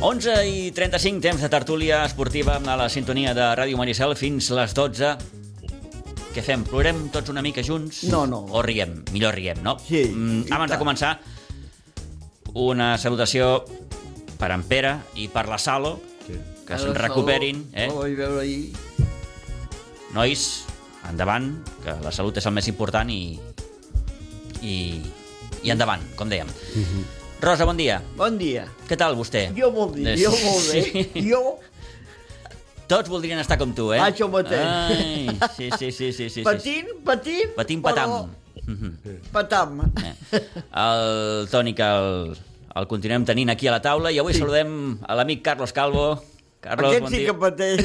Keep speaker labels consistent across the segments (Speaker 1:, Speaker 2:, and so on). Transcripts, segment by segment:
Speaker 1: 11 i 35, temps de tertúlia esportiva a la sintonia de Ràdio Maricel fins les 12. Què fem? Plorem tots una mica junts?
Speaker 2: No, no.
Speaker 1: O riem? Millor riem, no? Mm,
Speaker 2: Sí, i
Speaker 1: abans de
Speaker 2: tant.
Speaker 1: començar, una salutació per en Pere i per la Salo,
Speaker 3: Sí.
Speaker 1: que es recuperin. Eh?
Speaker 2: Ho vaig veure ahir.
Speaker 1: Nois, endavant, que la salut és el més important i... i, i endavant, com dèiem. Rosa, bon dia.
Speaker 2: Bon dia.
Speaker 1: Què tal, vostè?
Speaker 2: Mhm. Jo molt bé, jo molt bé.
Speaker 1: Eh, Sí.
Speaker 2: Jo,
Speaker 1: Tots voldrien estar com tu, eh?
Speaker 2: Ah, Això mateix.
Speaker 1: Ai, sí, sí, sí, sí, sí, sí.
Speaker 2: patint, patint,
Speaker 1: Patim
Speaker 2: però
Speaker 1: patam. Mhm.
Speaker 2: Patam.
Speaker 1: Eh. El Toni, que el, el continuem tenint aquí a la taula, i avui sí. saludem a l'amic Carlos Calvo. Carlos,
Speaker 2: Aquest
Speaker 1: bon
Speaker 2: sí
Speaker 1: dia.
Speaker 2: que pateix.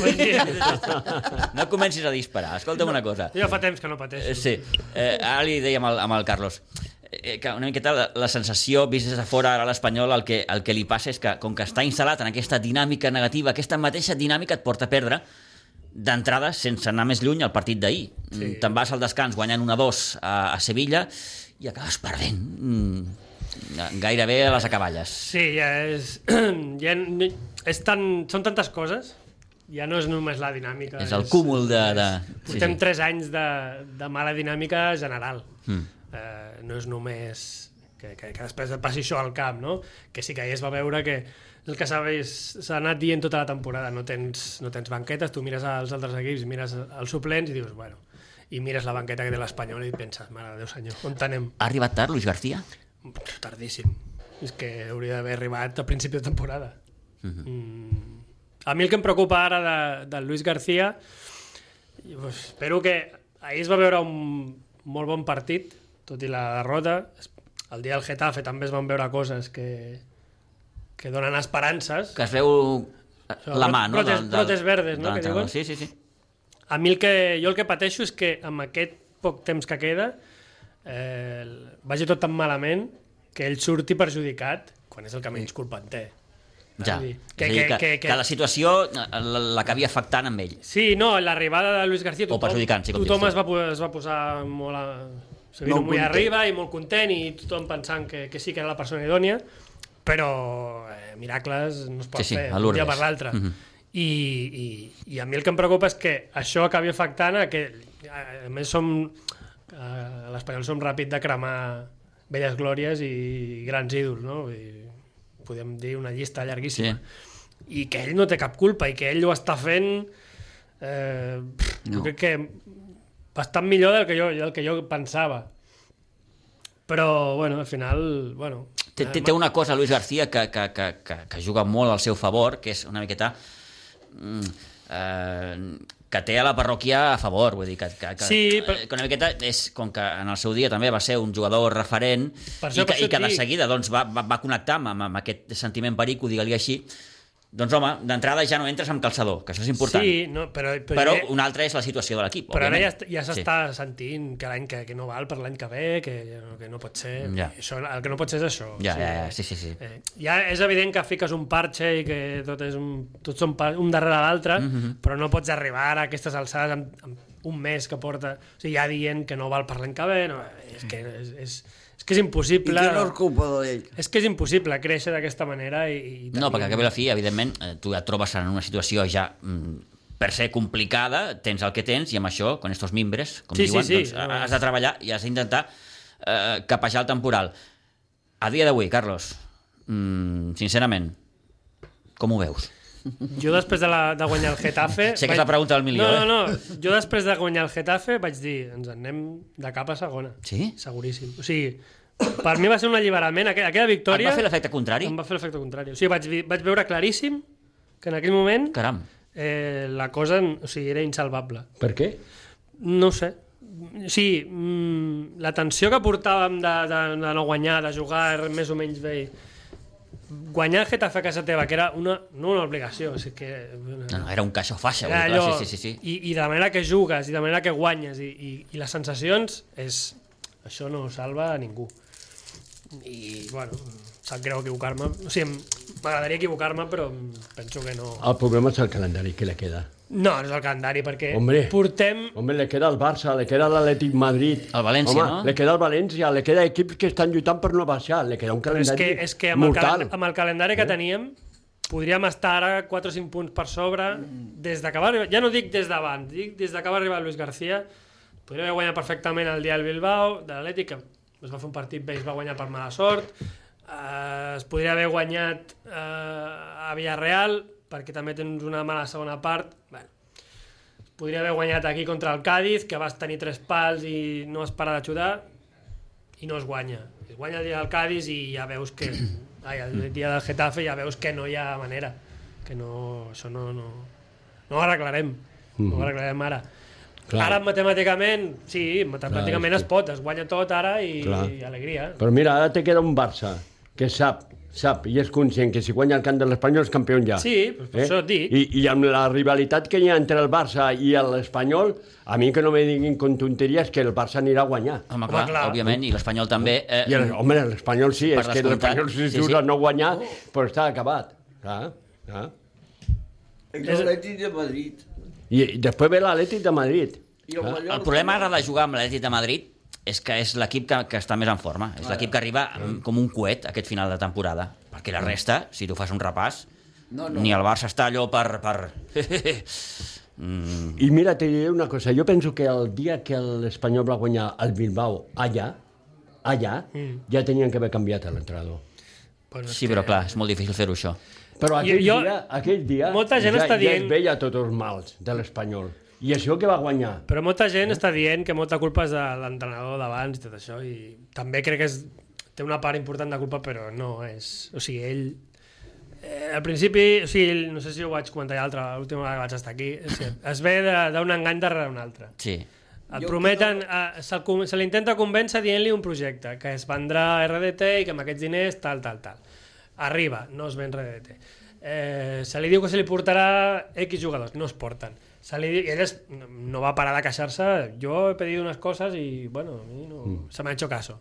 Speaker 1: No comencis a disparar, escolta'm una cosa.
Speaker 4: Jo fa temps que no
Speaker 1: Eh,
Speaker 4: pateixo.
Speaker 1: Sí, eh, ara li dèiem al, amb el Carlos eh, que una miqueta la, la sensació vist des de fora ara a l'Espanyol el, que, el que li passa és que com que està instal·lat en aquesta dinàmica negativa aquesta mateixa dinàmica et porta a perdre d'entrada sense anar més lluny al partit d'ahir sí.
Speaker 4: Sí.
Speaker 1: te'n vas al descans guanyant 1-2 a, a Sevilla i acabes perdent mm, gairebé a les acaballes
Speaker 4: Sí, ja és... Ja, no- és tan, són tantes coses, ja no és només la dinàmica.
Speaker 1: És el cúmul de- de-
Speaker 4: és-
Speaker 1: sí,
Speaker 4: Portem
Speaker 1: sí.
Speaker 4: tres anys de, de mala dinàmica general.
Speaker 1: Mm.
Speaker 4: Eh, no és només que, que, que després et passi això al camp, no? Que sí que ahir es va veure que el que sabés s'ha anat dient tota la temporada, no tens, no tens banquetes, tu mires als altres equips, mires als suplents i dius, bueno, i mires la banqueta que té l'Espanyol i penses, mare de Déu senyor, on anem?
Speaker 1: ha arribat tard Luis García?
Speaker 4: Pff, Tardíssim. És que hauria d'haver arribat a principi de temporada. Mm. A mi el que em preocupa ara de, de Luis García i, pues, espero que ahir es va veure un molt bon partit, tot i la derrota. Es- El dia del Getafe també es van veure coses que, que donen esperances.
Speaker 1: que es veu la mà no?
Speaker 4: Brotes- brotes verdes, no,
Speaker 1: de
Speaker 4: que
Speaker 1: l'entrenador.
Speaker 4: diuen?
Speaker 1: sí, sí, sí
Speaker 4: A mi el que, jo el que pateixo és que amb aquest poc temps que queda eh, el- vagi tot tan malament que ell surti perjudicat quan és el que menys culpa en té.
Speaker 1: Ja.
Speaker 4: Vull dir,
Speaker 1: Que, que, que, que, que la situació eh, la- l'acabia afectant amb ell.
Speaker 4: Sí, no, l'arribada de Luis García...
Speaker 1: O perjudicant, sí, com
Speaker 4: Tothom
Speaker 1: dius tu.
Speaker 4: es va, po- es va posar molt a... Se vino
Speaker 2: Molt
Speaker 4: muy
Speaker 2: content.
Speaker 4: arriba i molt content i tothom pensant que, que sí que era la persona idònia, però eh, miracles no es pot
Speaker 1: Sí, sí, a
Speaker 4: fer un
Speaker 1: Lourdes.
Speaker 4: dia per l'altre.
Speaker 1: Mhm.
Speaker 4: I, i, I a mi el que em preocupa és que això acabi afectant a que... A, a més, som... A l'Espanyol som ràpid de cremar velles glòries i grans ídols, no? I podem dir una llista llarguíssima.
Speaker 1: Sí.
Speaker 4: I que ell no té cap culpa i que ell ho està fent... Eh, no.
Speaker 1: No.
Speaker 4: Jo crec que bastant millor del que jo, del que jo pensava. Però, bueno, al final... Bueno,
Speaker 1: Té, té, té una cosa, Luis García, que, que, que, que, que juga molt al seu favor, que és una miqueta... Mm, eh, que té a la parròquia a favor, vull dir que, que, que,
Speaker 4: Sí, però-
Speaker 1: eh, que una miqueta és com que en el seu dia també va ser un jugador referent
Speaker 4: Per això-
Speaker 1: i, que,
Speaker 4: per això
Speaker 1: i que de
Speaker 4: et dic.
Speaker 1: seguida doncs, va, va, va connectar amb, amb- amb aquest sentiment perico, digue-li així doncs home, d'entrada ja no entres amb calçador que això és important,
Speaker 4: Sí, no, però, però,
Speaker 1: però
Speaker 4: ja-
Speaker 1: una altra és la situació de l'equip
Speaker 4: però ara ja,
Speaker 1: òbviament.
Speaker 4: est- ja s'està sí. sentint que l'any que, que no val per l'any que ve, que, que no pot ser...
Speaker 1: Ja.
Speaker 4: Això, el que no pot ser és això.
Speaker 1: ja,
Speaker 4: O
Speaker 1: ja,
Speaker 4: sigui,
Speaker 1: ja, sí, sí, sí.
Speaker 4: Eh, ja és evident que fiques un parxe i que tot és un, tots són pa- un darrere l'altre, mm
Speaker 1: Mhm.
Speaker 4: -hmm. però no pots arribar a aquestes alçades amb, amb un mes que porta... O sigui, ja dient que no val per l'any que ve, no, és, que
Speaker 1: Mm.
Speaker 4: és, és, és que és
Speaker 2: I que
Speaker 4: impossible...
Speaker 2: no és culpa d'ell.
Speaker 4: És que és impossible créixer d'aquesta manera i... i
Speaker 1: No, perquè al cap i a la fi, evidentment, eh, tu et trobes en una situació ja mm, per ser complicada, tens el que tens i amb això, con estos mimbres, com
Speaker 4: Sí, sí,
Speaker 1: diuen,
Speaker 4: sí.
Speaker 1: doncs, ha- has de treballar i has d'intentar eh, capejar el temporal. A dia d'avui, Carlos, mm, sincerament, com ho veus?
Speaker 4: Jo després de, la, de guanyar el Getafe...
Speaker 1: Sé que és la pregunta del milió, eh?
Speaker 4: No, no, no. Jo després de guanyar el Getafe vaig dir ens en anem de cap a segona.
Speaker 1: Sí?
Speaker 4: Seguríssim. O sigui, per mi va ser un alliberament. Aquella, aquella
Speaker 1: Et
Speaker 4: victòria...
Speaker 1: va fer l'efecte contrari?
Speaker 4: Em va fer l'efecte contrari. O sigui, vaig, vi- vaig veure claríssim que en aquell moment
Speaker 1: Caram.
Speaker 4: eh, la cosa o sigui, era insalvable.
Speaker 3: Per què?
Speaker 4: No ho sé. Sí, mm, la tensió que portàvem de, de, de no guanyar, de jugar més o menys bé... Guanyar el Getafe a casa teva, que era una, no una obligació, o sigui que...
Speaker 1: No, no, era un caixó faixa.
Speaker 4: Era
Speaker 1: vull dir, Ah, clar,
Speaker 4: allò,
Speaker 1: sí, sí, sí, sí.
Speaker 4: I, I de la manera que jugues, i de la manera que guanyes, i, i, i les sensacions, és... això no salva a ningú. I, bueno, em sap greu equivocar-me. O sigui, em- m'agradaria equivocar-me, però em penso que no...
Speaker 3: El problema és el calendari que li queda.
Speaker 4: No, no és el calendari, perquè
Speaker 3: Hombre.
Speaker 4: portem...
Speaker 3: Home, li queda el Barça, li queda l'Atlètic Madrid.
Speaker 1: El València,
Speaker 3: Home,
Speaker 1: no?
Speaker 3: li queda el València, li queda equips que estan lluitant per no baixar, li queda un
Speaker 4: Però és
Speaker 3: calendari
Speaker 4: que, és que amb, el
Speaker 3: mortal. Eh?
Speaker 4: calen, amb el calendari que teníem podríem estar ara 4 o 5 punts per sobre des de que va arribar, ja no dic des d'abans, dic des de que va arribar Luis García podria haver guanyat perfectament el dia del Bilbao de l'Atlètic, que es va fer un partit bé i es va guanyar per mala sort eh, es podria haver guanyat eh, a Villarreal perquè també tens una mala segona part bueno, es podria haver guanyat aquí contra el Cádiz que vas tenir tres pals i no es para de xutar i no es guanya. Es guanya el dia del Cádiz i ja veus que... Ai, el dia del Getafe ja veus que no hi ha manera. Que no... Això no... No, no ho arreglarem. No ho arreglarem ara. Clar.
Speaker 3: Mhm. Clar.
Speaker 4: Ara matemàticament, sí, matemàticament
Speaker 3: Clar,
Speaker 4: es
Speaker 3: és que-
Speaker 4: pot, es guanya tot ara i,
Speaker 3: Clar.
Speaker 4: i alegria.
Speaker 3: Però mira, ara te queda un Barça que sap, sap i és conscient que si guanya el camp de l'Espanyol és campió ja. Eh?
Speaker 4: Sí, doncs per això et dic.
Speaker 3: I, I amb la rivalitat que hi ha entre el Barça i l'Espanyol, a mi que no me diguin con tonteries que el Barça anirà a guanyar.
Speaker 1: Home, clar,
Speaker 4: clar.
Speaker 1: òbviament, i l'Espanyol també. Eh,
Speaker 3: I el, home, l'Espanyol sí,
Speaker 1: Per
Speaker 3: és que
Speaker 1: descomptat,
Speaker 3: l'Espanyol si
Speaker 1: sí,
Speaker 3: jura
Speaker 1: sí.
Speaker 3: no guanyar, però està acabat. Clar, clar.
Speaker 2: El Atlètic de Madrid.
Speaker 3: I, i després ve l'Atlètic de Madrid.
Speaker 2: I el, Mallorca.
Speaker 1: Ah, El problema ara de jugar amb l'Atlètic de Madrid és que és l'equip que, que està més en forma. És l'equip que arriba
Speaker 4: Mm.
Speaker 1: amb- com un coet aquest final de temporada. Perquè la resta, si tu fas un repàs,
Speaker 2: No, no.
Speaker 1: ni el Barça està allò per... per... mm,
Speaker 3: I mira, te diré una cosa, jo penso que el dia que l'Espanyol va guanyar el Bilbao allà, allà, mm. ja tenien que haver canviat l'entrenador.
Speaker 4: Però és
Speaker 1: sí, però clar, és molt difícil fer-ho això.
Speaker 3: Però aquell,
Speaker 4: Jo-
Speaker 3: jo,
Speaker 4: jo-
Speaker 3: dia, aquell dia
Speaker 4: molta gent
Speaker 3: ja,
Speaker 4: està dient-
Speaker 3: ja es veia tots els mals de l'Espanyol. I això que va guanyar.
Speaker 4: Però molta gent està dient que molta culpa és de l'entrenador d'abans i tot això, i també crec que és, té una part important de culpa, però no és... O sigui, ell... Eh, al principi, o sigui, ell- no sé si ho vaig comentar ja l'altra, l'última vegada que vaig estar aquí, o sigui, es ve de- d'un engany darrere d'un altre.
Speaker 1: Sí.
Speaker 4: Et
Speaker 2: Jo
Speaker 4: prometen, eh, se'l com- se l'intenta convèncer dient-li un projecte, que es vendrà a RDT i que amb aquests diners tal, tal, tal. Arriba, no es ven RDT. Eh, se li diu que se li portarà X jugadors, no es porten. Se li diu, I ell es, no- no va parar de queixar-se, jo he pedit unes coses i, bueno, a mi no, se m'ha hecho caso.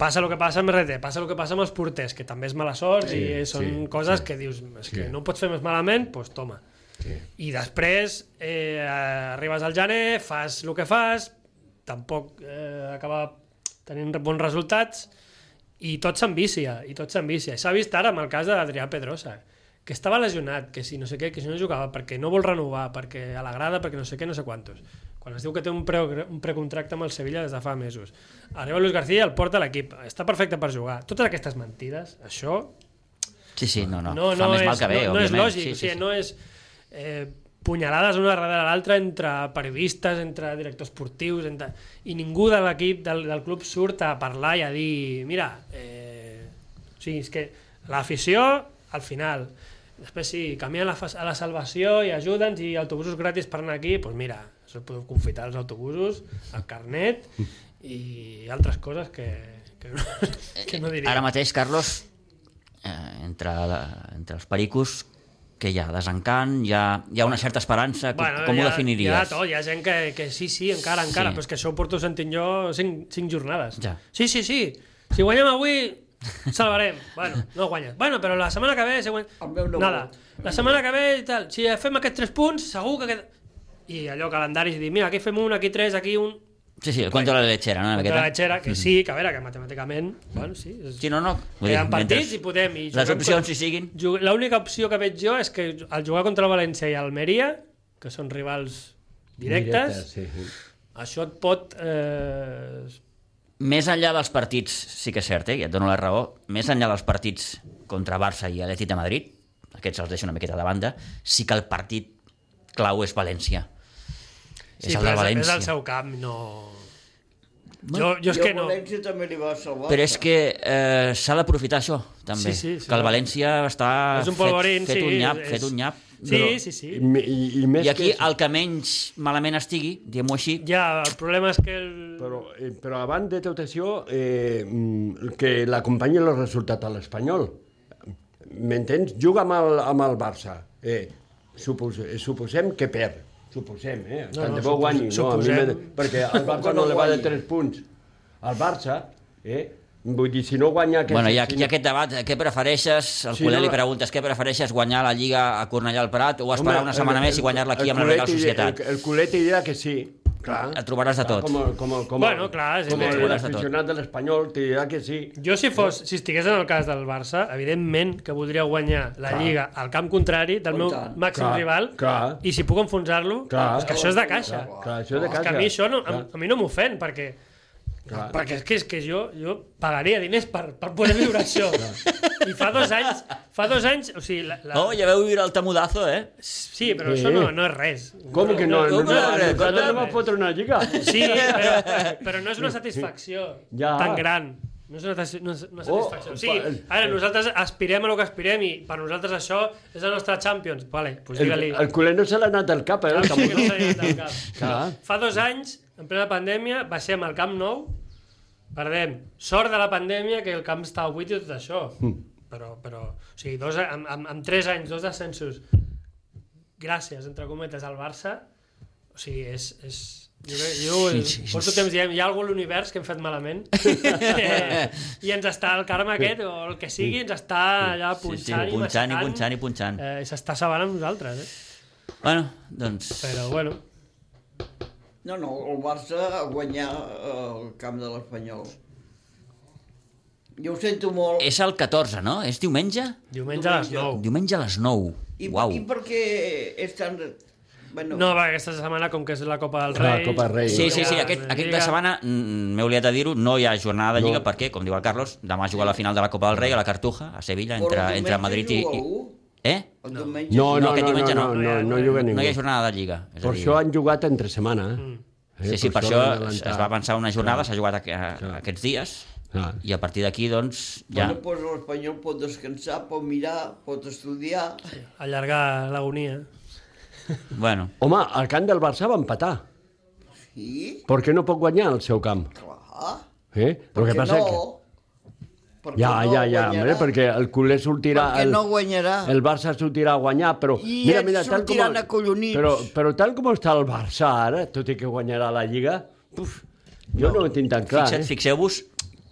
Speaker 4: Passa el que passa amb RT, passa el que passa amb els porters, que també és mala sort sí, i són sí,
Speaker 3: sí,
Speaker 4: coses sí. que dius, és que
Speaker 3: Sí.
Speaker 4: no ho pots fer més malament, doncs pues toma.
Speaker 3: Sí.
Speaker 4: I després eh, arribes al gener, fas el que fas, tampoc eh, acaba tenint bons resultats i tot s'envicia, i tot s'envicia. I S'ha vist ara amb el cas d'Adrià Pedrosa, que estava lesionat, que si no sé què, que si no jugava, perquè no vol renovar, perquè a la grada, perquè no sé què, no sé quantos. Quan es diu que té un, pre un precontracte amb el Sevilla des de fa mesos. Arriba Luis García i el porta a l'equip. Està perfecte per jugar. Totes aquestes mentides, això
Speaker 1: Sí, sí, no, no.
Speaker 4: no,
Speaker 1: Fa
Speaker 4: no
Speaker 1: més
Speaker 4: és,
Speaker 1: mal que bé,
Speaker 4: no, no és
Speaker 1: òbviament.
Speaker 4: lògic, sí, sí, o sigui,
Speaker 1: sí.
Speaker 4: no és eh, punyalades una darrere l'altra entre periodistes, entre directors esportius, entre... i ningú de l'equip del, del club surt a parlar i a dir mira, eh... o sigui, és que l'afició al final després sí, camí a la, fa- a la salvació i ajuda'ns i autobusos gratis per anar aquí doncs mira, us podeu confitar els autobusos el carnet
Speaker 1: Mm.
Speaker 4: i altres coses que, que, no, que no diria
Speaker 1: Eh, Ara mateix, Carlos, eh, entre, la, entre els pericos, que hi ha desencant, hi ha, hi ha una certa esperança, com, com
Speaker 4: hi
Speaker 1: ho
Speaker 4: ha- Hi ha,
Speaker 1: definiries?
Speaker 4: de tot, hi ha gent que, que sí, sí, encara, encara,
Speaker 1: Sí.
Speaker 4: però és que això ho porto sentint jo cinc, cinc jornades.
Speaker 1: Ja.
Speaker 4: Sí, sí, sí, si guanyem avui salvarem. Bueno, no guanyes. Bueno, però la setmana que ve... Si guany...
Speaker 2: El meu no
Speaker 4: Nada.
Speaker 2: vol.
Speaker 4: La setmana que ve i tal, si fem aquests tres punts, segur que... Queda... I allò, calendaris, i dir, mira, aquí fem un, aquí tres, aquí un...
Speaker 1: Sí, sí, el contra la lechera, no? Una
Speaker 4: Contra la
Speaker 1: miqueta.
Speaker 4: Xera, que sí, que a veure, que matemàticament... Bueno, sí, és...
Speaker 1: Mm-hmm. Sí, no, no. Vull
Speaker 4: Hi
Speaker 1: dir,
Speaker 4: ha partits
Speaker 1: mentre
Speaker 4: i podem... I
Speaker 1: Les
Speaker 4: juguem
Speaker 1: opcions,
Speaker 4: contra-
Speaker 1: hi siguin.
Speaker 4: Jug- L'única opció que veig jo és que al jugar contra el València i Almeria, que són rivals directes,
Speaker 3: sí, sí.
Speaker 4: això et pot... Eh...
Speaker 1: Més enllà dels partits, sí que és cert, eh? ja et dono la raó, més enllà dels partits contra Barça i Atlètic de Madrid, aquests els deixo una miqueta de banda, sí que el partit clau és València. és el
Speaker 4: però
Speaker 1: de
Speaker 4: És
Speaker 1: València.
Speaker 4: el seu camp, no... Jo, jo és
Speaker 2: I
Speaker 4: que
Speaker 2: el
Speaker 4: no.
Speaker 2: València també li va salvar.
Speaker 1: Però és que eh, s'ha d'aprofitar això, també.
Speaker 4: Sí, sí, sí,
Speaker 1: que el
Speaker 4: clar.
Speaker 1: València està
Speaker 4: És un
Speaker 1: Ah,
Speaker 4: polvorín,
Speaker 1: fet, fet
Speaker 4: sí,
Speaker 1: un nyap,
Speaker 4: és-
Speaker 1: fet un nyap.
Speaker 4: Sí, sí, sí.
Speaker 3: I, i, i més
Speaker 1: I aquí
Speaker 3: que...
Speaker 1: el que menys malament estigui, diguem-ho així,
Speaker 4: Ja, el problema és que... El...
Speaker 3: Però, eh, però abans de tot això, eh, mm, que l'acompanyi el resultat a l'Espanyol. M'entens? Juga amb el, amb el Barça. Eh, supos, eh, suposem que perd. Suposem, eh?
Speaker 4: No,
Speaker 3: No, Tant
Speaker 4: no,
Speaker 3: de bo
Speaker 4: supos-
Speaker 3: guanyi. No, a
Speaker 4: suposem.
Speaker 3: mi m'he- perquè el Barça
Speaker 2: Que
Speaker 3: no,
Speaker 2: no
Speaker 3: li va de
Speaker 2: guanyi.
Speaker 3: 3 punts. El Barça, eh? Vull dir, si no guanya... Aquest,
Speaker 1: Bueno, hi ha,
Speaker 3: si
Speaker 1: hi ha aquest debat, eh, què prefereixes? El
Speaker 3: Sí,
Speaker 1: sí, Culer
Speaker 3: no,
Speaker 1: li preguntes, què prefereixes guanyar la Lliga a Cornellà al Prat o esperar
Speaker 3: Home,
Speaker 1: una setmana
Speaker 3: el-
Speaker 1: més i guanyar-la aquí
Speaker 3: el
Speaker 1: amb la Real
Speaker 3: culet i-
Speaker 1: Societat?
Speaker 3: El, el culet dirà que sí, Clar.
Speaker 1: Et trobaràs de tot.
Speaker 3: Com, el- com, el- com, el-
Speaker 4: Bueno, clar, sí,
Speaker 3: com
Speaker 4: sí,
Speaker 3: el-
Speaker 4: sí.
Speaker 3: l'aficionat de l'Espanyol te dirà que sí.
Speaker 4: Jo, si, fos, si estigués en el cas del Barça, evidentment que voldria guanyar la
Speaker 3: Clar.
Speaker 4: Lliga al camp contrari del
Speaker 2: Oh,
Speaker 4: meu
Speaker 2: i tant.
Speaker 4: màxim
Speaker 3: Clar,
Speaker 4: rival,
Speaker 3: clar.
Speaker 4: i si puc enfonsar-lo,
Speaker 3: Clar.
Speaker 4: és que això és de caixa.
Speaker 3: Clar, clar, això és de
Speaker 4: És
Speaker 3: casa.
Speaker 4: que a mi això no, a,
Speaker 3: Clar.
Speaker 4: a mi no m'ofèn, perquè,
Speaker 3: Clar.
Speaker 4: perquè és que, és que jo, jo pagaria diners per, per poder viure això. I fa dos anys, fa dos anys, o sigui, la, la,
Speaker 1: Oh, ja veu viure el tamudazo, eh?
Speaker 4: sí, però
Speaker 3: Sí.
Speaker 4: això no, no és res.
Speaker 3: Com que no?
Speaker 1: Com que no?
Speaker 3: no, no, no, no,
Speaker 1: Com-
Speaker 3: va fotre una lliga.
Speaker 4: Sí, però, però no és una satisfacció
Speaker 3: Ja.
Speaker 4: tan gran. No és una, tas- no és una satisfacció.
Speaker 3: Oh,
Speaker 4: Oh, sí,
Speaker 3: pa-
Speaker 4: ara nosaltres aspirem a lo que aspirem i per nosaltres això és la nostra Champions. Vale, doncs
Speaker 3: El,
Speaker 4: digue-li.
Speaker 3: el culer no se l'ha anat al cap, eh?
Speaker 4: Clar,
Speaker 3: El
Speaker 4: sí Ah, que no
Speaker 3: Camus.
Speaker 4: s'ha llençat al cap.
Speaker 3: Clar.
Speaker 4: Fa dos anys, en plena pandèmia, baixem al Camp Nou, perdem. Sort de la pandèmia que el camp està buit i tot això.
Speaker 1: Hmm.
Speaker 4: Però, però, o sigui, dos, amb, amb, amb tres anys, dos descensos, gràcies, entre cometes, al Barça, o sigui, és... és jo, crec- jo
Speaker 1: Sí, sí.
Speaker 4: porto temps dient, hi ha algú a l'univers que hem fet malament eh, i ens està el karma aquest o el que sigui, ens està allà
Speaker 1: Sí, sí, punxant
Speaker 4: punxant,
Speaker 1: i
Speaker 4: massacant,
Speaker 1: punxant i punxant.
Speaker 4: Eh, s'està sabant amb nosaltres, eh?
Speaker 1: Bueno, doncs...
Speaker 4: Però, bueno,
Speaker 2: No, no, el Barça a guanyar eh, el camp de l'Espanyol. Jo ho sento molt.
Speaker 1: És el 14, no? És diumenge?
Speaker 4: Diumenge a les 9.
Speaker 1: Diumenge a les 9.
Speaker 2: I,
Speaker 1: Uau.
Speaker 2: I per què és tan... Bueno,
Speaker 4: No, va, aquesta setmana, com que és la Copa del
Speaker 3: La
Speaker 4: Rei...
Speaker 3: Copa Rei.
Speaker 1: Sí, sí, sí, aquest, aquest de setmana, mm, m'he oblidat de dir-ho, no hi ha jornada de Lliga
Speaker 3: No.
Speaker 1: perquè, com diu el Carlos, demà juga la final de la Copa del Rei a la Cartuja, a Sevilla,
Speaker 2: però
Speaker 1: entre,
Speaker 2: el
Speaker 1: entre
Speaker 2: diumenge
Speaker 1: Madrid i...
Speaker 2: juga
Speaker 1: i-
Speaker 2: algú?
Speaker 1: Eh?
Speaker 2: El diumenge
Speaker 3: No,
Speaker 1: No,
Speaker 3: no,
Speaker 1: aquest
Speaker 3: no, no,
Speaker 1: diumenge
Speaker 3: no,
Speaker 1: no.
Speaker 3: no, no juga ningú.
Speaker 1: No hi ha jornada de Lliga. És a
Speaker 3: Per
Speaker 1: dir,
Speaker 3: això han jugat entre setmana.
Speaker 4: Mm.
Speaker 3: eh?
Speaker 1: Sí,
Speaker 3: Eh,
Speaker 1: sí, per això
Speaker 3: van
Speaker 1: es
Speaker 3: adelantar.
Speaker 1: va avançar una jornada, s'ha jugat a, a, aquests dies,
Speaker 3: Clar.
Speaker 1: i a partir d'aquí, doncs,
Speaker 2: Ja.
Speaker 1: ja...
Speaker 2: Bueno, pues doncs l'espanyol pot descansar, pot mirar, pot estudiar.
Speaker 4: Allargar l'agonia.
Speaker 1: Bueno,
Speaker 3: Home, el camp del Barça va empatar.
Speaker 2: Sí,
Speaker 3: Per què no pot guanyar el seu camp?
Speaker 2: clar.
Speaker 3: Eh? El que passa
Speaker 2: no?
Speaker 3: que...
Speaker 2: Per què
Speaker 3: Ja,
Speaker 2: no
Speaker 3: ja, ja,
Speaker 2: guanyarà?
Speaker 3: hombre, perquè el culer sortirà...
Speaker 2: Perquè
Speaker 3: el,
Speaker 2: no guanyarà.
Speaker 3: El Barça sortirà a guanyar, però...
Speaker 2: Ah. I ells sortiran acollonits.
Speaker 3: Però, però tal com està el Barça ara, tot i que guanyarà la Lliga, puf, jo no, ho tinc tan clar,
Speaker 1: fixa't,
Speaker 3: eh?
Speaker 1: fixeu-vos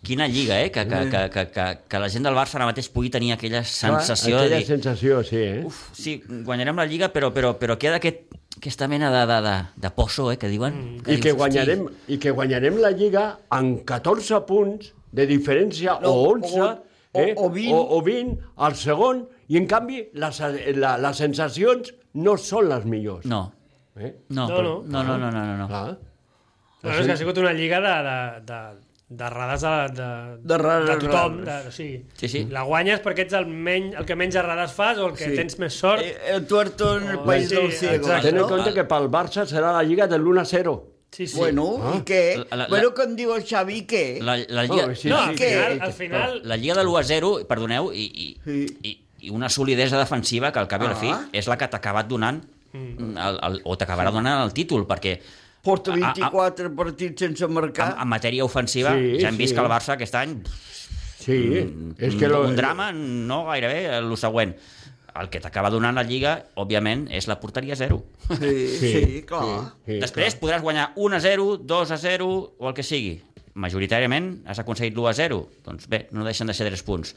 Speaker 1: quina lliga, eh? Que, que, que, que, que, que la gent del Barça ara mateix pugui tenir aquella sensació
Speaker 3: Aquella
Speaker 1: de dir...
Speaker 3: sensació, sí, eh?
Speaker 1: Uf, sí, guanyarem la Lliga, però, però, però queda aquest, aquesta mena de, de, de, de poso, eh, que diuen.
Speaker 3: I
Speaker 1: dius,
Speaker 3: que,
Speaker 1: "Hosti".
Speaker 3: guanyarem, I que guanyarem la Lliga amb 14 punts de diferència,
Speaker 2: No,
Speaker 3: no, o 11,
Speaker 2: o-
Speaker 3: eh?
Speaker 2: o- o 20.
Speaker 3: O, o 20 al segon, i en canvi les, la, les sensacions no són les millors.
Speaker 1: No,
Speaker 3: Eh?
Speaker 1: no,
Speaker 4: No, no.
Speaker 1: no, no, no, no, no, no.
Speaker 3: Clar.
Speaker 4: Bueno, és que ha sigut una lliga de, de, de, de radars de, de,
Speaker 2: De radars,
Speaker 4: de tothom. De,
Speaker 2: radars.
Speaker 4: o sigui,
Speaker 1: Sí, sí.
Speaker 4: La guanyes perquè ets el, menys, el que menys radars fas o el que sí. tens més sort.
Speaker 2: Eh, El tuerto en el
Speaker 4: Oh,
Speaker 2: país
Speaker 4: sí,
Speaker 2: del ciego.
Speaker 4: exacte.
Speaker 3: Ten en
Speaker 1: no?
Speaker 3: compte que pel Barça serà la Lliga de l'1 a 0.
Speaker 4: Sí, sí.
Speaker 2: Bueno, i què?
Speaker 1: La- la-
Speaker 2: bueno, com diu el Xavi, i què?
Speaker 1: La, la, Lliga,
Speaker 3: Oh, sí,
Speaker 4: no,
Speaker 3: sí,
Speaker 4: al
Speaker 2: que-
Speaker 4: final, al final
Speaker 1: la Lliga de l'1 a 0, perdoneu, i, i,
Speaker 2: Sí.
Speaker 1: i, i una solidesa defensiva que al cap i a la fi
Speaker 2: Ah.
Speaker 1: és la que t'ha acabat donant el, el, o t'acabarà donant el títol, perquè
Speaker 2: Porta
Speaker 1: a- a-
Speaker 2: 24 partits sense marcar.
Speaker 1: en, en matèria ofensiva
Speaker 3: Sí,
Speaker 1: ja hem vist
Speaker 3: sí.
Speaker 1: que el Barça aquest any
Speaker 3: Sí, mm, és que...
Speaker 1: lo... un drama no gairebé el següent el que t'acaba donant la Lliga, òbviament, és la porteria zero.
Speaker 2: Sí, sí, sí clar.
Speaker 3: Sí, sí,
Speaker 1: Després podràs guanyar 1 a 0, 2 a 0 o el que sigui. Majoritàriament has aconseguit l'1 a 0. Doncs bé, no deixen de ser 3 punts.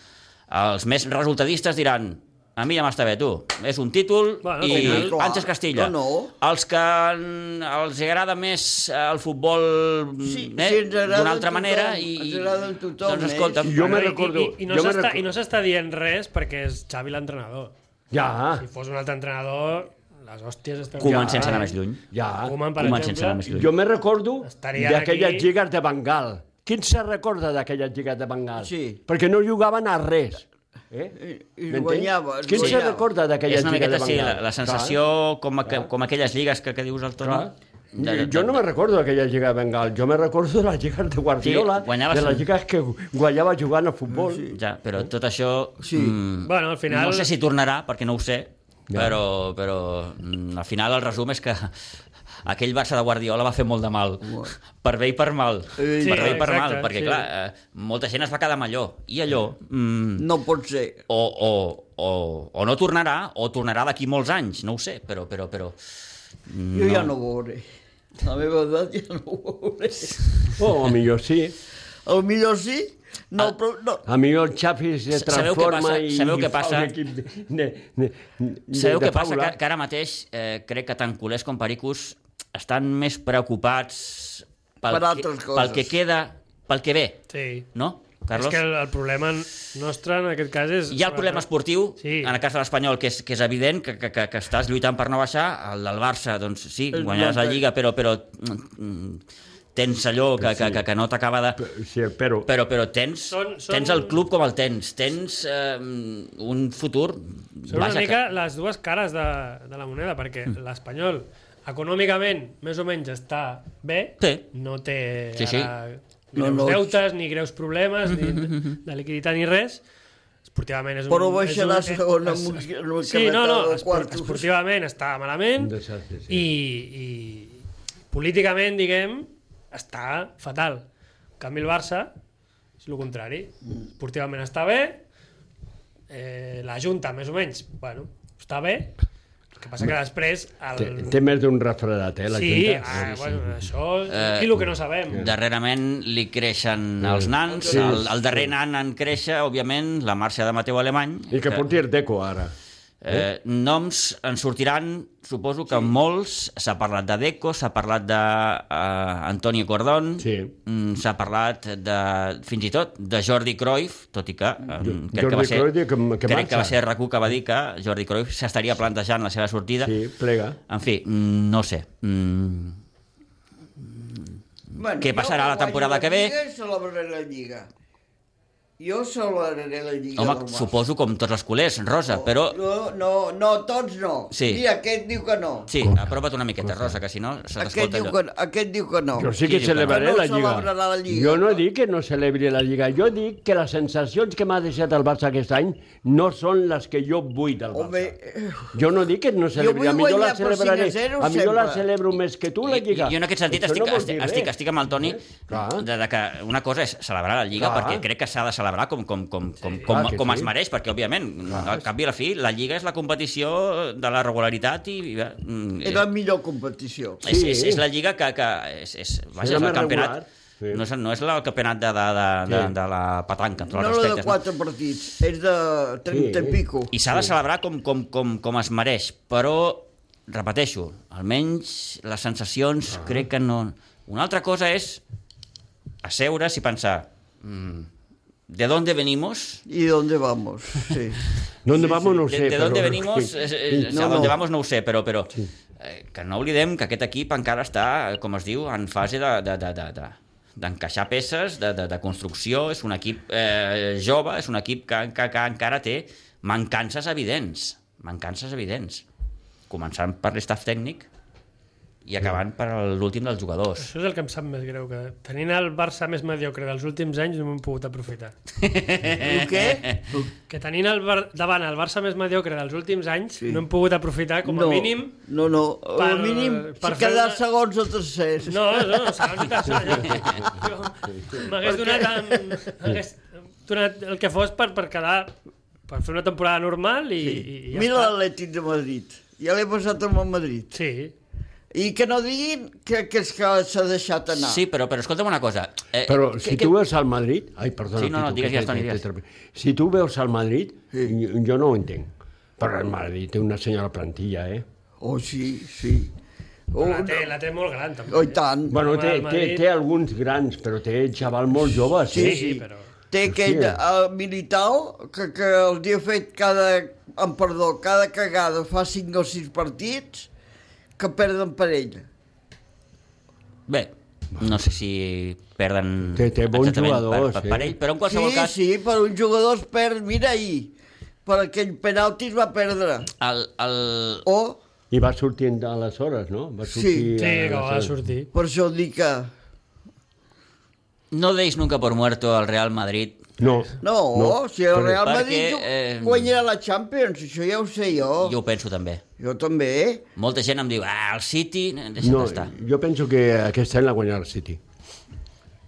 Speaker 1: Els més resultadistes diran a mi ja m'està bé, tu. És un títol bueno,
Speaker 4: Bueno,
Speaker 1: i
Speaker 4: al final,
Speaker 2: clar.
Speaker 1: Àngels Castilla.
Speaker 2: No, no.
Speaker 1: Els que en- els agrada més eh, el futbol
Speaker 2: Sí,
Speaker 1: eh,
Speaker 2: sí, ens agrada
Speaker 1: d'una altra
Speaker 2: tothom,
Speaker 1: manera i...
Speaker 2: ens agrada tothom,
Speaker 1: doncs
Speaker 2: eh?
Speaker 1: escolta,
Speaker 3: Jo me
Speaker 4: i-
Speaker 3: recordo-
Speaker 4: I, i, no
Speaker 3: jo me
Speaker 4: s'està-
Speaker 3: recordo-
Speaker 4: i no s'està dient res perquè és Xavi l'entrenador.
Speaker 3: Ja,
Speaker 4: Si fos un altre entrenador, les hòsties... estarien-
Speaker 1: Koeman sense anar més lluny.
Speaker 3: ja.
Speaker 4: Koeman, per
Speaker 1: Koeman sense anar
Speaker 4: exemple.
Speaker 1: més lluny.
Speaker 3: Jo me recordo
Speaker 4: Estaria
Speaker 3: d'aquelles
Speaker 4: aquí.
Speaker 3: lligues de Bengal. Qui en se recorda d'aquelles lligues de Bengal?
Speaker 2: Sí.
Speaker 3: Perquè no jugaven a res. Eh?
Speaker 2: I- i
Speaker 3: M'entens?
Speaker 2: guanyava,
Speaker 3: Qui en se
Speaker 2: guanyava.
Speaker 3: recorda
Speaker 1: És
Speaker 3: d'aquelles
Speaker 1: una
Speaker 3: lligues de
Speaker 1: miqueta,
Speaker 3: Bengal?
Speaker 1: sí, la, la sensació com, a, com aquelles lligues que, que dius el Toni.
Speaker 3: Clar. Clar. Jo no me recordo d'aquella lliga de Bengal, jo me recordo de les lligues de Guardiola,
Speaker 1: Sí, guanyaves
Speaker 3: de les
Speaker 1: un-
Speaker 3: lligues que guanyava jugant a futbol. Sí.
Speaker 1: Ja, però tot això...
Speaker 2: Sí.
Speaker 1: mm,
Speaker 4: Bueno, al final-
Speaker 1: No sé si tornarà, perquè no ho sé, però, però mm, al final el resum és que aquell Barça de Guardiola va fer molt de mal, per bé i per mal,
Speaker 2: Eh,
Speaker 1: per bé i per
Speaker 4: exacte,
Speaker 1: mal, perquè
Speaker 4: sí.
Speaker 1: clar, eh, molta gent es va quedar amb allò, i allò mm,
Speaker 2: No pot ser.
Speaker 1: o, o, o, o no tornarà, o tornarà d'aquí molts anys, no ho sé, però... però, però
Speaker 2: Jo ja no ho veuré. La meva edat ja no ho veuré.
Speaker 3: O millor sí,
Speaker 2: El millor sí, no,
Speaker 1: Ah,
Speaker 2: però no.
Speaker 3: a millor el Xavi se
Speaker 1: S- sabeu què
Speaker 3: transforma
Speaker 1: passa?
Speaker 3: i,
Speaker 1: Sabeu
Speaker 3: i
Speaker 1: què
Speaker 3: fa
Speaker 1: passa?
Speaker 3: un equip de, de, de, de,
Speaker 1: Sabeu
Speaker 3: de
Speaker 1: què passa?
Speaker 3: faula.
Speaker 1: Que, que ara mateix eh, crec que tant culers com pericos estan més preocupats pel,
Speaker 2: Per altres
Speaker 1: que, pel
Speaker 2: coses.
Speaker 1: que queda, pel que ve,
Speaker 4: Sí.
Speaker 1: no, Carlos?
Speaker 4: És que el, el problema nostre en aquest cas és...
Speaker 1: Hi ha el problema esportiu, sí.
Speaker 4: Sí.
Speaker 1: en el cas de l'Espanyol, que, és, que és evident que, que, que, que estàs lluitant per no baixar, el del Barça, doncs sí,
Speaker 2: El
Speaker 1: guanyaràs la
Speaker 2: Barça.
Speaker 1: Lliga, però, però mm, tens allò que, que, que, que no t'acaba de...
Speaker 3: Sí, però...
Speaker 1: Però, però tens,
Speaker 4: Són- són-
Speaker 1: tens el club com el tens, tens eh, un futur...
Speaker 4: Són una mica les dues cares de, de la moneda, perquè
Speaker 1: Mm.
Speaker 4: l'Espanyol econòmicament més o menys està bé,
Speaker 1: Sí.
Speaker 4: no té
Speaker 1: Sí, sí.
Speaker 4: ara
Speaker 2: No,
Speaker 4: greus
Speaker 2: no.
Speaker 4: deutes, ni greus problemes, ni de liquiditat ni res. Esportivament és un...
Speaker 2: Però
Speaker 4: és
Speaker 2: baixarà
Speaker 4: un-
Speaker 2: segona
Speaker 4: es-
Speaker 2: amb un- amb un
Speaker 4: Sí, no, no,
Speaker 2: cabetal de
Speaker 4: espor-
Speaker 2: quartos.
Speaker 4: esportivament està malament
Speaker 3: Un desastre, sí.
Speaker 4: i, i políticament, diguem, està fatal. En canvi, el Barça és el contrari. Esportivament està bé, eh, la Junta, més o menys, bueno, està bé, el que passa que després... El...
Speaker 3: Té, té més d'un refredat, eh, la
Speaker 4: sí,
Speaker 3: Junta.
Speaker 4: ah, bueno, això...
Speaker 1: Eh,
Speaker 4: Aquí el que no sabem.
Speaker 1: Darrerament li creixen els nans,
Speaker 3: Sí.
Speaker 1: el, el darrer nan en créixer, òbviament, la marxa de Mateu Alemany.
Speaker 3: I que porti eh? Ardeco, ara.
Speaker 1: Eh, noms en sortiran, suposo que sí. molts. S'ha parlat de Deco, s'ha parlat d'Antonio uh, Cordón,
Speaker 3: Sí.
Speaker 1: mm, s'ha parlat de, fins i tot de Jordi Cruyff, tot i que, um, crec,
Speaker 3: Jordi
Speaker 1: que va ser,
Speaker 3: Cruyff que- que
Speaker 1: crec que va
Speaker 3: marxa.
Speaker 1: ser RAC1 que va dir que Jordi Cruyff s'estaria plantejant la seva sortida.
Speaker 3: Sí, plega.
Speaker 1: En fi, mm, no sé. Mm,
Speaker 2: Bueno,
Speaker 1: Què
Speaker 2: jo
Speaker 1: passarà la
Speaker 2: guanyo
Speaker 1: temporada que ve?
Speaker 2: Lliga, celebraré la Lliga. Jo celebraré la Lliga
Speaker 1: home,
Speaker 2: del Barça.
Speaker 1: suposo com tots els culers, Rosa, però...
Speaker 2: No, no, no, tots no.
Speaker 1: Sí.
Speaker 2: Mira, aquest diu que no.
Speaker 1: Sí, apropa't una miqueta, Rosa, que si no se
Speaker 2: Aquest
Speaker 1: t'escolta
Speaker 2: diu,
Speaker 1: allò.
Speaker 2: que, aquest diu que no.
Speaker 3: Jo sí
Speaker 1: Qui
Speaker 3: que
Speaker 1: diu
Speaker 2: que no?
Speaker 3: celebraré
Speaker 2: No
Speaker 3: la Lliga.
Speaker 2: celebrarà la Lliga.
Speaker 3: Jo no dic que no celebri la Lliga, jo dic que les sensacions que m'ha deixat el Barça aquest any no són les que jo vull del
Speaker 2: Home,
Speaker 3: Barça. Jo no dic que no celebri,
Speaker 2: vull
Speaker 3: a millor la
Speaker 2: guanyar per
Speaker 3: celebraré,
Speaker 2: 5 a 0
Speaker 3: a millor la
Speaker 2: sempre.
Speaker 3: celebro més que tu la
Speaker 1: Jo-
Speaker 3: Lliga.
Speaker 1: Jo, en aquest sentit
Speaker 3: Això
Speaker 1: estic,
Speaker 3: no vol
Speaker 1: estic,
Speaker 3: dir res. Eh?
Speaker 1: estic, estic amb el Toni
Speaker 3: clar.
Speaker 1: de, de, que una cosa és celebrar la Lliga
Speaker 3: Clar.
Speaker 1: perquè crec que s'ha de celebrar com, com, com, com, com,
Speaker 3: Clar que
Speaker 1: com
Speaker 3: sí.
Speaker 1: es mereix, perquè òbviament al cap i a la fi la Lliga és la competició de la regularitat i... i, mm,
Speaker 2: és la millor competició.
Speaker 1: és,
Speaker 3: Sí.
Speaker 1: és, és la Lliga que, que és, és, vaja, és
Speaker 3: la
Speaker 1: el
Speaker 3: més
Speaker 1: campionat
Speaker 3: regular, sí.
Speaker 1: no és, no és la- el campionat de, de, de, de,
Speaker 3: Sí.
Speaker 1: de la petanca, amb tots els
Speaker 2: No la de
Speaker 1: respectes. no?
Speaker 2: quatre partits, és de 30
Speaker 3: Sí.
Speaker 2: i pico.
Speaker 1: I s'ha de celebrar com, com, com, com es mereix, però, repeteixo, almenys les sensacions ah. crec que no... Una altra cosa és asseure's i pensar mm, de dónde venimos,
Speaker 2: I d'on vamos? Sí.
Speaker 3: D'on vamos no ho
Speaker 1: de,
Speaker 3: sé.
Speaker 1: de
Speaker 3: però-
Speaker 1: dónde venimos, eh, eh, o sea,
Speaker 2: No, no.
Speaker 1: dónde vamos no ho sé, però, però eh, que no oblidem que aquest equip encara està, eh, com es diu, en fase de... de, de, de, de d'encaixar peces, de, de, de construcció, és un equip eh, jove, és un equip que, que, que encara té mancances evidents, mancances evidents, començant per l'estaf tècnic i acabant per l'últim dels jugadors.
Speaker 4: Això és el que em sap més greu, que tenint el Barça més mediocre dels últims anys no m'hem pogut aprofitar.
Speaker 2: El què?
Speaker 4: Que tenint el Bar davant el Barça més mediocre dels últims anys sí. no hem pogut aprofitar com a
Speaker 2: no,
Speaker 4: mínim
Speaker 2: No, no, per,
Speaker 4: per-
Speaker 2: al mínim
Speaker 4: per
Speaker 2: per quedar
Speaker 4: fer una-
Speaker 2: una... segons o tercers.
Speaker 4: No, no, no, segons i tercers. Jo, jo m'hagués donat, em- m'hagués donat el que fos per, per quedar per fer una temporada normal i, sí. i ja
Speaker 2: Mira
Speaker 4: està.
Speaker 2: l'Atlètic de Madrid. Ja l'he passat amb el Madrid.
Speaker 4: Sí.
Speaker 2: I que no diguin que, que és que s'ha deixat anar.
Speaker 1: Sí, però, però escolta'm una cosa. Eh,
Speaker 3: Però
Speaker 1: que-
Speaker 3: si
Speaker 1: que-
Speaker 3: tu veus al Madrid... Ai, perdona.
Speaker 1: Sí, no, no,
Speaker 3: Tito,
Speaker 1: digues,
Speaker 3: que
Speaker 1: digues, Toni,
Speaker 3: t'he
Speaker 1: digues.
Speaker 3: interromput. Si tu veus al Madrid, jo, jo no ho entenc. Però el Madrid té una senyora plantilla, eh?
Speaker 2: Oh, sí, sí. Oh,
Speaker 4: La té,
Speaker 2: no.
Speaker 4: la té molt gran, també.
Speaker 2: oh, i tant.
Speaker 3: Bueno,
Speaker 4: Home,
Speaker 3: té,
Speaker 4: el
Speaker 3: té,
Speaker 4: Madrid-
Speaker 3: té alguns grans, però té xaval molt jove, sí.
Speaker 4: sí, sí, però...
Speaker 2: Té aquell uh, militar que, que els hi ha fet cada, em perdó, cada cagada fa 5 o 6 partits que perden per ell.
Speaker 1: Bé, no sé si perden
Speaker 3: Té- té bons
Speaker 1: exactament
Speaker 3: jugadors,
Speaker 1: per, per,
Speaker 3: eh?
Speaker 1: per ell, però en
Speaker 2: Sí,
Speaker 1: qualsevol cas
Speaker 2: sí, per un jugador es perd, mira ahir, per aquell penalti es va perdre.
Speaker 1: el, el...
Speaker 2: O,
Speaker 3: I va sortir en- aleshores, no? Va
Speaker 2: Sí.
Speaker 3: sortir
Speaker 4: Sí, que va
Speaker 3: aleshores.
Speaker 4: sortir.
Speaker 2: per això dic que...
Speaker 1: no deis nunca por muerto al Real Madrid
Speaker 3: No.
Speaker 2: No, no si el Real
Speaker 1: perquè,
Speaker 2: Madrid
Speaker 1: eh,
Speaker 2: perquè, guanyarà la Champions, això ja ho sé jo.
Speaker 1: jo ho penso també
Speaker 2: Jo també.
Speaker 1: molta gent em diu, ah, el City deixa't no.
Speaker 3: No, eh.
Speaker 1: estar,
Speaker 3: jo penso que aquest any la guanyarà el City.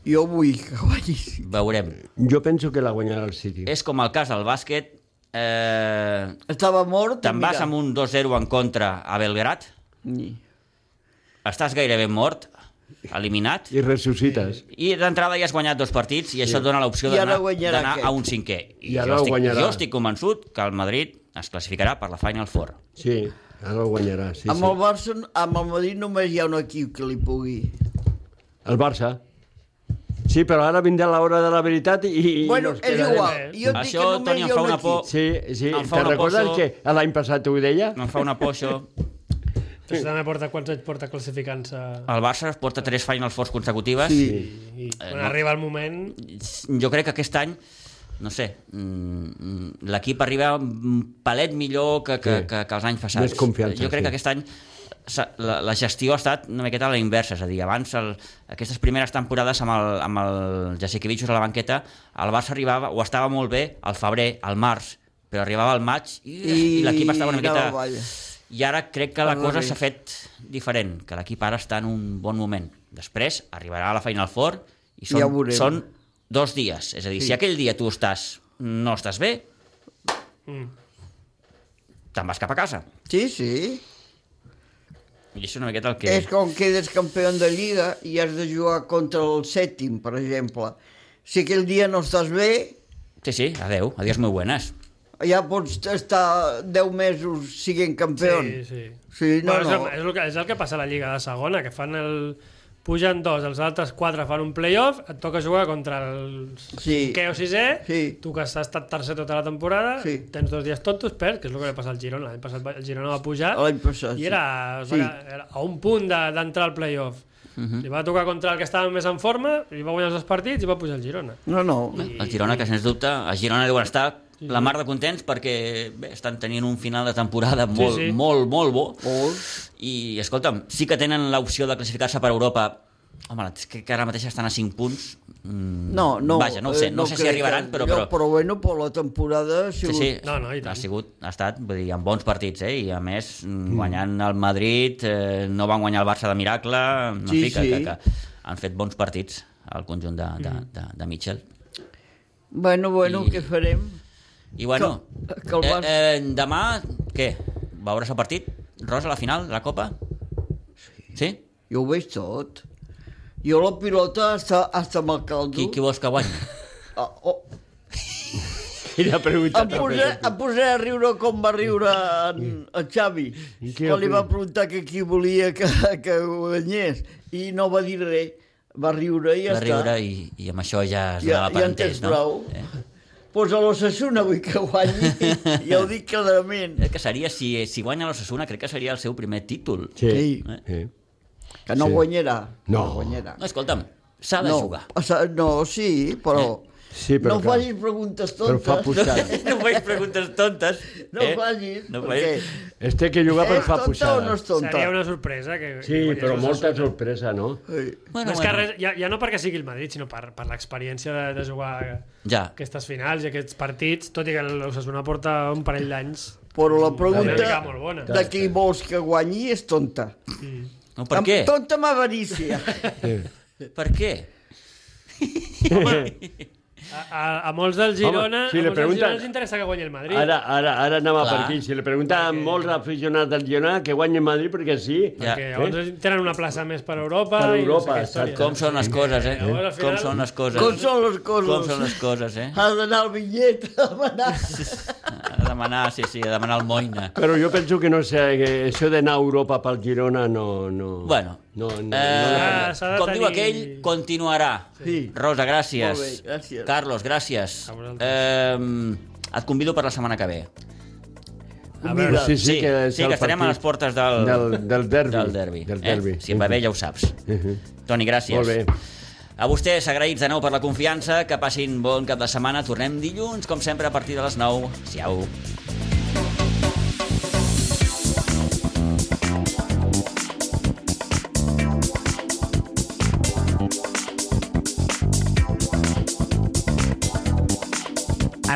Speaker 2: Jo vull que guanyi.
Speaker 1: veurem
Speaker 3: Jo penso que la guanyarà el City.
Speaker 1: és com el cas del bàsquet eh,
Speaker 2: Estava mort.
Speaker 1: te'n vas amb un 2-0 en contra a Belgrat
Speaker 2: un...
Speaker 1: estàs gairebé mort eliminat
Speaker 3: I ressuscites.
Speaker 1: i d'entrada ja has guanyat dos partits i això et dona l'opció
Speaker 2: I ara
Speaker 1: d'anar
Speaker 2: guanyarà
Speaker 1: d'anar
Speaker 2: aquest.
Speaker 1: a un cinquè.
Speaker 3: I ara
Speaker 1: jo, estic,
Speaker 3: guanyarà.
Speaker 1: jo estic convençut que el Madrid es classificarà per la Final Four.
Speaker 3: Sí, ara el guanyarà. Sí,
Speaker 2: amb el
Speaker 3: sí.
Speaker 2: Barça, amb el Madrid només hi ha un equip que li pugui.
Speaker 3: El Barça. Sí, però ara vindrà l'hora de la veritat i... i
Speaker 2: bueno,
Speaker 3: nos
Speaker 2: és
Speaker 3: quedarem-
Speaker 2: igual. Jo et dic
Speaker 1: Això,
Speaker 2: que només
Speaker 1: Toni, em
Speaker 2: hi ha
Speaker 1: fa
Speaker 2: un
Speaker 1: una
Speaker 2: equip.
Speaker 1: por.
Speaker 3: Sí, sí.
Speaker 1: Em fa
Speaker 3: Te'n
Speaker 1: una
Speaker 3: recordes
Speaker 1: poso-
Speaker 3: que l'any passat ho deia?
Speaker 1: No em fa una por, això.
Speaker 4: Però això també porta quants anys porta classificant-se
Speaker 1: El Barça es porta tres Final Fours consecutives.
Speaker 2: Sí.
Speaker 4: i, i quan arriba el moment
Speaker 1: Jo crec que aquest any no sé, mm, mm, l'equip arriba un palet millor que, que,
Speaker 3: Sí.
Speaker 1: que, que els anys passats.
Speaker 3: Més confiança,
Speaker 1: jo crec
Speaker 3: sí.
Speaker 1: que aquest any s'ha- la, la gestió ha estat una miqueta a la inversa, és a dir, abans el, aquestes primeres temporades amb el, amb el Jasikevicius a la banqueta, el Barça arribava, o estava molt bé al febrer, al març, però arribava al maig i, i,
Speaker 2: I
Speaker 1: l'equip estava una
Speaker 2: anava
Speaker 1: miqueta...
Speaker 2: avall.
Speaker 1: I ara crec que la
Speaker 2: Parla
Speaker 1: cosa
Speaker 2: bé.
Speaker 1: s'ha fet diferent, que l'equip ara està en un bon moment. Després arribarà a la Final Four i són,
Speaker 2: Ja ho veurem.
Speaker 1: són dos dies. És a dir, sí. si aquell dia tu estàs, no estàs bé, mm. te'n vas cap a casa.
Speaker 2: Sí, sí.
Speaker 1: I això és una miqueta el que...
Speaker 2: És com quedes campió de Lliga i has de jugar contra el sèptim, per exemple. Si aquell dia no estàs bé,
Speaker 1: Sí, sí, adeu, adiós muy buenas.
Speaker 2: ja pots estar 10 mesos siguent campió.
Speaker 4: sí, sí.
Speaker 2: Sí, no,
Speaker 4: Bueno, és,
Speaker 2: no.
Speaker 4: el, és, el que, és el que passa a la Lliga de Segona, que fan el... Pugen dos, els altres quatre fan un playoff, et toca jugar contra el
Speaker 2: Sí.
Speaker 4: cinquè o sisè,
Speaker 2: Sí.
Speaker 4: tu que has estat tercer tota la temporada,
Speaker 2: Sí.
Speaker 4: tens dos dies tontos, perds, que és el que li passa al Girona. L'any passat va- el Girona va pujar
Speaker 2: L'any passat,
Speaker 4: i era,
Speaker 2: sí. Mhm.
Speaker 4: sí. era a un punt de- d'entrar de, al playoff. Uh -huh. Li va tocar contra el que estava més en forma, li va guanyar els dos partits i va pujar el Girona.
Speaker 2: No, no.
Speaker 1: El Girona, que sens dubte, a Girona deuen estar la mar de contents perquè bé, estan tenint un final de temporada molt, sí,
Speaker 4: sí.
Speaker 1: sí. molt, molt bo.
Speaker 2: Molt.
Speaker 1: I, escolta'm, sí que tenen l'opció de classificar-se per Europa. Home, crec que ara mateix estan a 5 punts. Mm,
Speaker 2: No, no.
Speaker 1: Vaja, no ho sé,
Speaker 2: eh,
Speaker 1: no, no sé si
Speaker 2: crec
Speaker 1: arribaran,
Speaker 2: que-
Speaker 1: però...
Speaker 2: no,
Speaker 1: però...
Speaker 2: Però bueno, per la temporada... Si
Speaker 1: Sí,
Speaker 2: ho-
Speaker 1: sí,
Speaker 4: No, no, i tant.
Speaker 1: ha sigut, ha estat, vull dir, amb bons partits, eh? I a més, mm. guanyant el Madrid, eh, no van guanyar el Barça de miracle, en
Speaker 2: Sí,
Speaker 1: fi, que,
Speaker 2: sí.
Speaker 1: que, que han fet bons partits al conjunt de, de,
Speaker 4: Mm.
Speaker 1: de, de Mitchell.
Speaker 2: Bueno, bueno,
Speaker 1: I-
Speaker 2: què farem?
Speaker 1: I bueno,
Speaker 2: Que- que el Barça-
Speaker 1: eh, eh, demà, què? Veuràs el partit? Rosa, la final, la Copa? Sí. Sí?
Speaker 2: Jo ho veig tot. Jo la pilota està, està amb el caldo.
Speaker 1: Qui, qui vols que guanyi?
Speaker 2: Ah, oh,
Speaker 3: Quina pregunta
Speaker 2: em,
Speaker 3: tan
Speaker 2: posaré, em posaré a riure com va riure en, en Xavi,
Speaker 3: I què
Speaker 2: quan li
Speaker 3: opina?
Speaker 2: va preguntar que qui volia que, que guanyés, i no va dir res. Va riure i
Speaker 1: Ja
Speaker 2: ja està.
Speaker 1: riure i, i amb això ja es
Speaker 2: ja,
Speaker 1: donava per
Speaker 2: ja en
Speaker 1: entès,
Speaker 2: tens
Speaker 1: no?
Speaker 2: prou.
Speaker 1: Eh?
Speaker 2: Pues a l'Ossassuna vull que guanyi, ja ho dic clarament.
Speaker 1: El que seria, si, si guanya l'Ossassuna, crec que seria el seu primer títol.
Speaker 3: Sí.
Speaker 2: Sí.
Speaker 3: sí.
Speaker 2: Que no
Speaker 3: Sí.
Speaker 2: guanyarà.
Speaker 3: No.
Speaker 2: guanyarà.
Speaker 1: No, escolta'm, s'ha de
Speaker 2: no.
Speaker 1: jugar.
Speaker 2: o sea, No, sí, però...
Speaker 3: Eh? Sí, però
Speaker 2: no
Speaker 3: clar.
Speaker 2: facis preguntes
Speaker 3: Però
Speaker 2: tontes.
Speaker 3: fa
Speaker 1: No,
Speaker 3: puxada.
Speaker 1: no faig preguntes tontes.
Speaker 2: No
Speaker 1: eh?
Speaker 2: facis,
Speaker 1: No
Speaker 2: perquè...
Speaker 1: facis.
Speaker 3: Es té que jugar per
Speaker 2: és
Speaker 3: fa
Speaker 2: tonta o
Speaker 3: puxada.
Speaker 2: no és tonta?
Speaker 4: Seria una sorpresa. Que, que
Speaker 3: Sí,
Speaker 4: guanyés
Speaker 3: però
Speaker 4: el
Speaker 3: molta
Speaker 4: Sassuolo.
Speaker 3: sorpresa, no?
Speaker 2: Sí.
Speaker 1: Bueno,
Speaker 4: Més
Speaker 1: bueno.
Speaker 4: que res, ja, ja no perquè sigui el Madrid, sinó per, per l'experiència de, de jugar
Speaker 1: Ja.
Speaker 4: aquestes finals i aquests partits, tot i que l'Osasuna porta un parell d'anys.
Speaker 2: Però la
Speaker 4: mica
Speaker 2: pregunta
Speaker 4: molt bona.
Speaker 2: de qui vols que guanyi és tonta.
Speaker 1: No, per què?
Speaker 2: Amb tonta amb avarícia.
Speaker 1: Per què?
Speaker 4: A, a, a molts del Girona, Home,
Speaker 3: Home, si
Speaker 4: si a
Speaker 3: li
Speaker 4: molts pregunta... del
Speaker 3: pregunten-
Speaker 4: Girona els interessa que guanyi el Madrid.
Speaker 3: Ara, ara, ara anava
Speaker 1: Clar.
Speaker 3: per aquí. Si li preguntaven molts aficionats del Girona que guanyen Madrid perquè sí.
Speaker 1: Ja.
Speaker 4: Perquè llavors tenen una plaça més per Europa. i
Speaker 3: Per
Speaker 4: no sé
Speaker 3: Europa,
Speaker 4: què històries.
Speaker 3: exacte.
Speaker 1: Com són les coses, eh?
Speaker 4: Llavors, al
Speaker 1: Com
Speaker 4: final-
Speaker 1: són les coses.
Speaker 2: Com són les coses.
Speaker 1: Com són les coses, eh?
Speaker 2: Has d'anar al bitllet a demanar.
Speaker 1: A demanar, sí, sí, a demanar el moina.
Speaker 3: Però jo penso que no sé, que això d'anar a Europa pel Girona no... no
Speaker 1: Bueno,
Speaker 3: no, no,
Speaker 1: eh,
Speaker 4: s'ha de
Speaker 1: com
Speaker 4: tenir-
Speaker 1: diu aquell, continuarà.
Speaker 2: Ah, Sí.
Speaker 1: Rosa, gràcies.
Speaker 2: Molt bé, gràcies.
Speaker 1: Carlos, gràcies.
Speaker 4: A vosaltres.
Speaker 1: Eh, et convido per la setmana que ve.
Speaker 4: A
Speaker 3: no.
Speaker 4: veure,
Speaker 3: Sí, sí, que, és
Speaker 1: sí,
Speaker 3: el
Speaker 1: que estarem a les
Speaker 3: partit
Speaker 1: portes del,
Speaker 3: del, del derbi.
Speaker 1: del derbi.
Speaker 3: Del derbi. Uh-huh.
Speaker 1: Eh? Si et va bé, ja ho saps. Toni, gràcies.
Speaker 3: Molt bé.
Speaker 1: A vostès, agraïts de nou per la confiança, que passin bon cap de setmana. Tornem dilluns, com sempre, a partir de les 9. Siau.
Speaker 5: A